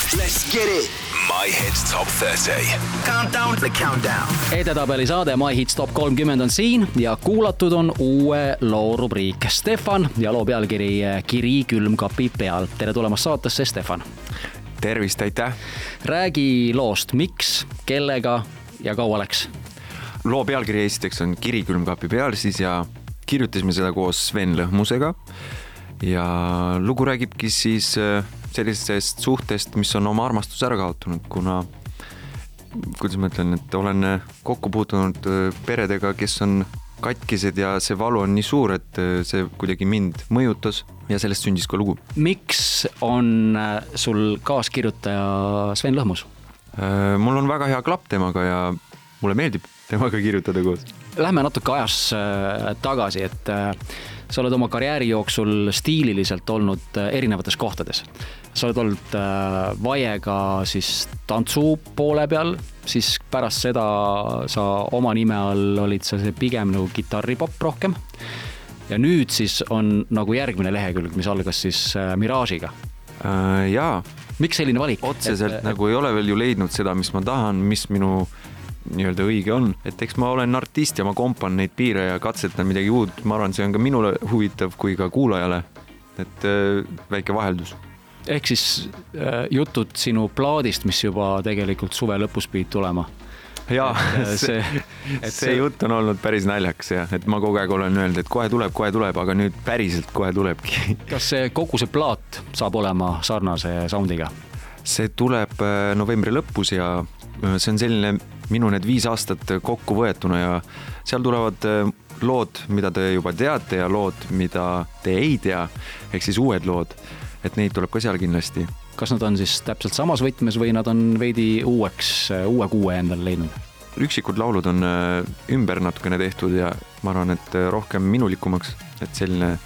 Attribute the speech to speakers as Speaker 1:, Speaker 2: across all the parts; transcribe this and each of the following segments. Speaker 1: Let's get it. My Hits Top 30. Countdown. The countdown.
Speaker 2: edetabeli saade My Hits Top kolmkümmend on siin ja kuulatud on uue loo rubriik Stefan ja loo pealkiri eh, Kiri külmkapi peal. tere tulemast saatesse, Stefan.
Speaker 3: tervist , aitäh .
Speaker 2: räägi loost , miks , kellega ja kaua läks ?
Speaker 3: loo pealkiri esiteks on Kiri külmkapi peal siis ja kirjutasime seda koos Sven Lõhmusega . ja lugu räägibki siis äh, sellisest suhtest , mis on oma armastuse ära kaotanud , kuna kuidas ma ütlen , et olen äh, kokku puutunud äh, peredega , kes on katkised ja see valu on nii suur , et äh, see kuidagi mind mõjutas ja sellest sündis ka lugu .
Speaker 2: miks on äh, sul kaaskirjutaja Sven Lõhmus ?
Speaker 3: Äh, mul on väga hea klapp temaga ja mulle meeldib temaga kirjutada koos .
Speaker 2: Lähme natuke ajas äh, tagasi , et äh, sa oled oma karjääri jooksul stiililiselt olnud äh, erinevates kohtades . sa oled olnud äh, Vaiega siis tantsu poole peal , siis pärast seda sa oma nime all olid sa see pigem nagu kitarripopp rohkem . ja nüüd siis on nagu järgmine lehekülg , mis algas siis äh, Mirage'iga .
Speaker 3: Äh, jaa
Speaker 2: miks selline valik ? äh,
Speaker 3: otseselt et, nagu ei ole veel ju leidnud seda , mis ma tahan , mis minu nii-öelda õige on , et eks ma olen artist ja ma kompan neid piire ja katsetan midagi uut , ma arvan , see on ka minule huvitav kui ka kuulajale . et äh, väike vaheldus .
Speaker 2: ehk siis äh, jutud sinu plaadist , mis juba tegelikult suve lõpus pidid tulema .
Speaker 3: jaa ,
Speaker 2: see ,
Speaker 3: see , äh, see, see jutt on olnud päris naljakas jah , et ma kogu aeg olen öelnud , et kohe tuleb , kohe tuleb , aga nüüd päriselt kohe tulebki .
Speaker 2: kas see kogu see plaat saab olema sarnase soundiga ?
Speaker 3: see tuleb äh, novembri lõpus ja äh, see on selline minu need viis aastat äh, kokku võetuna ja seal tulevad äh, lood , mida te juba teate ja lood , mida te ei tea , ehk siis uued lood . et neid tuleb ka seal kindlasti .
Speaker 2: kas nad on siis täpselt samas võtmes või nad on veidi uueks , uue kuue endale leidnud ?
Speaker 3: üksikud laulud on äh, ümber natukene tehtud ja ma arvan , et äh, rohkem minulikumaks , et selline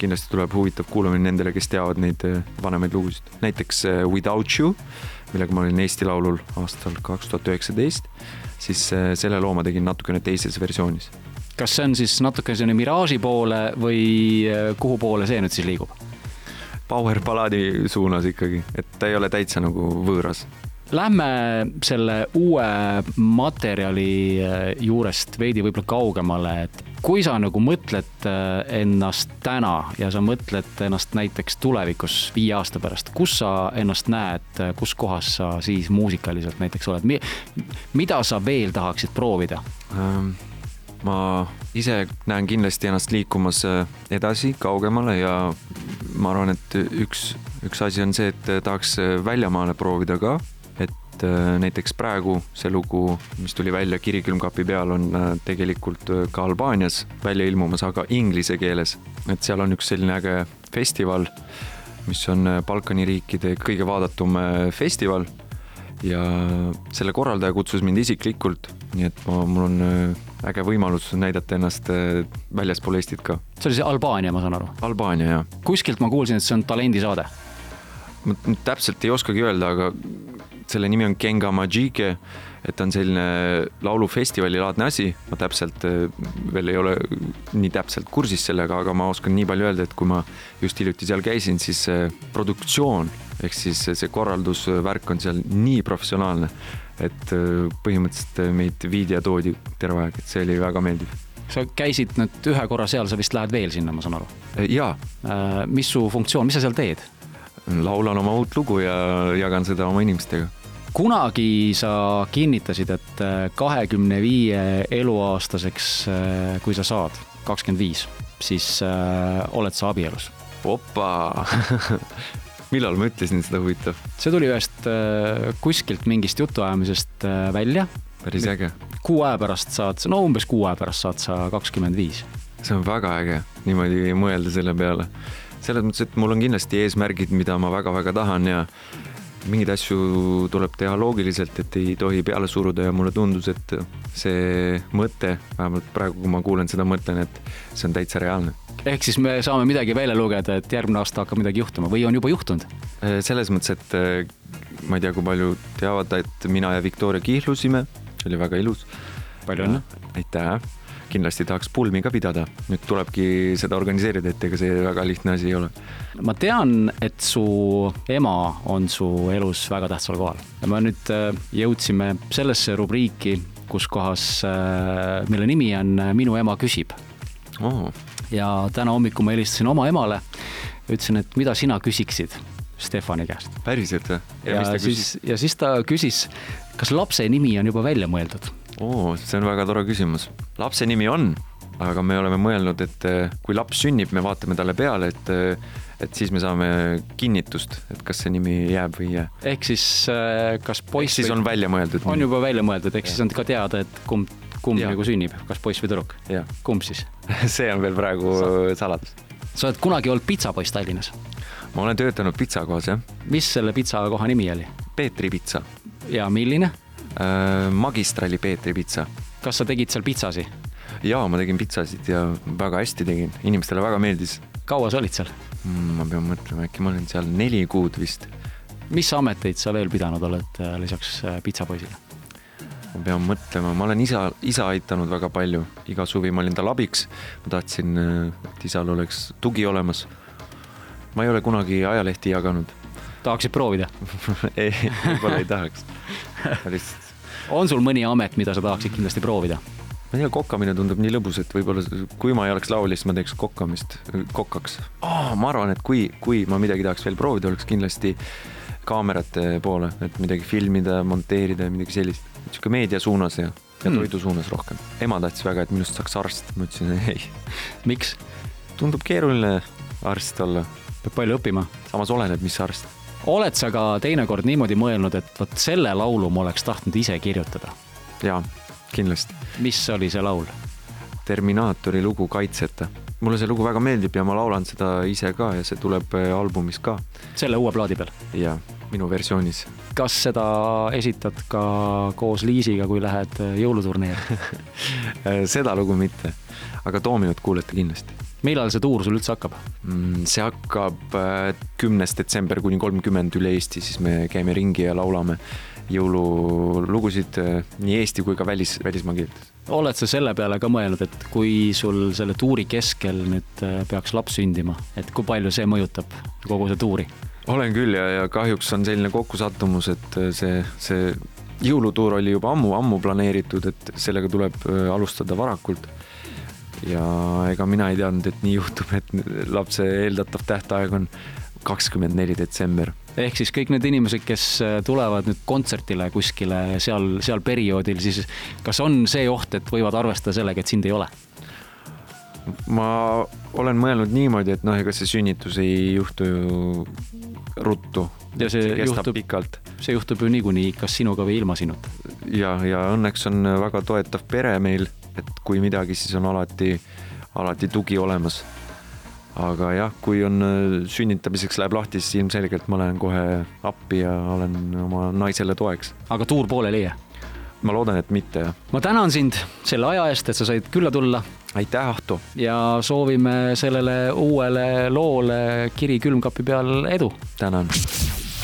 Speaker 3: kindlasti tuleb huvitav kuulamine nendele , kes teavad neid äh, vanemaid lugusid . näiteks äh, Without You , millega ma olin Eesti Laulul aastal kaks tuhat üheksateist , siis äh, selle loo ma tegin natukene teises versioonis .
Speaker 2: kas see on siis natuke selline Mirage'i poole või äh, kuhu poole see nüüd siis liigub ?
Speaker 3: Power ballaadi suunas ikkagi , et ta ei ole täitsa nagu võõras .
Speaker 2: Lähme selle uue materjali äh, juurest veidi võib-olla kaugemale , et kui sa nagu mõtled äh, ennast täna ja sa mõtled ennast näiteks tulevikus viie aasta pärast , kus sa ennast näed , kus kohas sa siis muusikaliselt näiteks oled , mida sa veel tahaksid proovida ?
Speaker 3: Ehm, ma ise näen kindlasti ennast liikumas äh, edasi , kaugemale ja ma arvan , et üks , üks asi on see , et tahaks äh, väljamaale proovida ka , et äh, näiteks praegu see lugu , mis tuli välja Kiri külmkapi peal , on äh, tegelikult äh, ka Albaanias välja ilmumas , aga inglise keeles . et seal on üks selline äge festival , mis on äh, Balkani riikide kõige vaadatum äh, festival ja selle korraldaja kutsus mind isiklikult , nii et ma , mul on äh, äge võimalus näidata ennast äh, väljaspool Eestit ka .
Speaker 2: see oli see Albaania , ma saan aru .
Speaker 3: Albaania ja ,
Speaker 2: kuskilt ma kuulsin , et see on talendisaade .
Speaker 3: ma t- täpselt ei oskagi öelda , aga selle nimi on Genga Majike , et ta on selline laulufestivali laadne asi , ma täpselt äh, veel ei ole nii täpselt kursis sellega , aga ma oskan nii palju öelda , et kui ma just hiljuti seal käisin , siis see produktsioon ehk siis see korraldusvärk on seal nii professionaalne , et äh, põhimõtteliselt meid viidi ja toodi terve aeg , et see oli väga meeldiv .
Speaker 2: sa käisid nüüd ühe korra seal , sa vist lähed veel sinna , ma saan aru .
Speaker 3: Eh, jaa ,
Speaker 2: mis su funktsioon , mis sa seal teed ?
Speaker 3: laulan oma uut lugu ja jagan seda oma inimestega .
Speaker 2: kunagi sa kinnitasid , et äh, kahekümne viie eluaastaseks , kui sa saad , kakskümmend viis , siis äh, oled sa abielus .
Speaker 3: opa , millal ma ütlesin seda huvitav ,
Speaker 2: see tuli ühest äh, kuskilt mingist jutuajamisest äh, välja .
Speaker 3: päris äge ,
Speaker 2: kuu aja pärast saad sa , no umbes kuu aja pärast saad sa kakskümmend viis .
Speaker 3: see on väga äge niimoodi mõelda selle peale . selles mõttes , et mul on kindlasti eesmärgid , mida ma väga-väga tahan ja mingeid asju tuleb teha loogiliselt , et ei tohi peale suruda ja mulle tundus , et see mõte , vähemalt praegu , kui ma kuulen seda , mõtlen , et see on täitsa reaalne .
Speaker 2: ehk siis me saame midagi välja lugeda , et järgmine aasta hakkab midagi juhtuma või on juba juhtunud .
Speaker 3: Äh, selles mõttes , et eh, ma ei tea , kui palju teavad , et mina ja Viktoria kihlusime , see oli väga ilus .
Speaker 2: palju õnne !
Speaker 3: aitäh , kindlasti tahaks pulmi ka pidada, nüüd tulebki seda organiseerida, et ega see väga lihtne asi ei ole.
Speaker 2: ma tean, et su ema on su elus väga tähtsal kohal ja me nüüd äh, jõudsime sellesse rubriiki, kus kohas äh,, mille nimi on Minu ema küsib
Speaker 3: oo ,
Speaker 2: ja täna hommikul ma helistasin oma emale , ütlesin , et mida sina küsiksid Stefani käest .
Speaker 3: päriselt või ? ja
Speaker 2: ja
Speaker 3: mis ta küsis ?
Speaker 2: siis , ja siis ta küsis , kas lapse nimi on juba välja mõeldud .
Speaker 3: oo , see on väga tore küsimus . lapse nimi on , aga me oleme mõelnud , et eh, kui laps sünnib , me vaatame talle peale , et , et siis me saame kinnitust , et kas see nimi jääb või ei jää .
Speaker 2: ehk siis äh, kas
Speaker 3: poiss
Speaker 2: poiss
Speaker 3: siis on välja mõeldud .
Speaker 2: on juba välja mõeldud , ehk siis on ka teada , et kumb , kumb
Speaker 3: Jah.
Speaker 2: nagu sünnib , kas poiss või tüdruk .
Speaker 3: jah ,
Speaker 2: kumb siis ?
Speaker 3: see on veel praegu saladus .
Speaker 2: sa oled kunagi olnud pitsapoiss Tallinnas .
Speaker 3: ma olen töötanud pitsakohas jah ,
Speaker 2: mis selle pitsakoha nimi oli
Speaker 3: Peetri pitsa ,
Speaker 2: ja milline ?
Speaker 3: magistrali Peetri pitsa
Speaker 2: kas sa tegid seal pitsasi ?
Speaker 3: jaa , ma tegin pitsasid ja väga hästi tegin , inimestele väga meeldis .
Speaker 2: kaua sa olid seal ?
Speaker 3: ma pean mõtlema , äkki ma olin seal neli kuud vist .
Speaker 2: mis ameteid sa veel pidanud oled äh, lisaks äh, pitsapoisile ?
Speaker 3: ma pean mõtlema , ma olen isa , isa aitanud väga palju , iga suvi ma olin tal abiks . ma tahtsin , et isal oleks tugi olemas . ma ei ole kunagi ajalehti jaganud .
Speaker 2: tahaksid proovida ?
Speaker 3: ei , võib-olla ei tahaks . ma lihtsalt ,
Speaker 2: on sul mõni amet , mida sa tahaksid kindlasti proovida ?
Speaker 3: ma ei tea , kokkamine tundub nii lõbus , et võib-olla kui ma ei oleks laulja , siis ma teeks kokkamist , kokaks oh, . ma arvan , et kui , kui ma midagi tahaks veel proovida , oleks kindlasti kaamerate poole , et midagi filmida , monteerida ja midagi sellist . niisugune meedia suunas ja , ja
Speaker 2: Hmm.
Speaker 3: toidu suunas rohkem . ema tahtis väga , et minust saaks arst , ma ütlesin ei ,
Speaker 2: miks ?
Speaker 3: tundub keeruline arst olla .
Speaker 2: peab palju õppima .
Speaker 3: samas oleneb , mis arst .
Speaker 2: oled sa ka teinekord niimoodi mõelnud , et vot selle laulu ma oleks tahtnud ise kirjutada ?
Speaker 3: jaa , kindlasti .
Speaker 2: mis oli see laul ?
Speaker 3: Terminaatori lugu Kaitseta . mulle see lugu väga meeldib ja ma laulan seda ise ka ja see tuleb eh, albumis ka
Speaker 2: selle uue plaadi peal .
Speaker 3: ja minu versioonis
Speaker 2: kas seda esitad ka koos Liisiga , kui lähed äh, jõuluturniiri ?
Speaker 3: seda lugu mitte , aga Toominut kuulete kindlasti .
Speaker 2: millal see tuur sul üldse hakkab ?
Speaker 3: see hakkab äh, kümnes detsember kuni kolmkümmend üle Eesti , siis me käime ringi ja laulame jõululugusid äh, nii eesti kui ka välis , välismaa keeltes .
Speaker 2: oled sa selle peale ka mõelnud , et kui sul selle tuuri keskel nüüd äh, peaks laps sündima , et kui palju see mõjutab kogu see tuuri ?
Speaker 3: olen küll ja , ja kahjuks on selline kokkusattumus , et äh, see , see jõulutuur oli juba ammu-ammu planeeritud , et sellega tuleb äh, alustada varakult ja ega mina ei teadnud , et nii juhtub , et lapse eeldatav tähtaeg on kakskümmend neli detsember
Speaker 2: ehk siis kõik need inimesed , kes äh, tulevad nüüd kontsertile kuskile seal , seal perioodil , siis kas on see oht , et võivad arvestada sellega , et sind ei ole ?
Speaker 3: ma olen mõelnud niimoodi , et noh , ega see sünnitus ei juhtu ju ruttu .
Speaker 2: Ja see
Speaker 3: kestab
Speaker 2: juhtub-
Speaker 3: pikalt
Speaker 2: see juhtub ju niikuinii , kas sinuga või ilma sinuta .
Speaker 3: ja , ja õnneks on väga toetav pere meil , et kui midagi , siis on alati , alati tugi olemas . aga jah , kui on äh, sünnitamiseks läheb lahti , siis ilmselgelt ma lähen kohe appi ja olen oma naisele toeks .
Speaker 2: aga tuur pooleli ei jää .
Speaker 3: ma loodan , et mitte jah .
Speaker 2: ma tänan sind selle aja eest , et sa said külla tulla
Speaker 3: aitäh , Ahto ,
Speaker 2: ja soovime sellele uuele loole Kiri külmkapi peal edu .
Speaker 3: tänan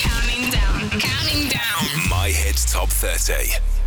Speaker 4: Counting down, counting down.
Speaker 1: My Head's Top 30.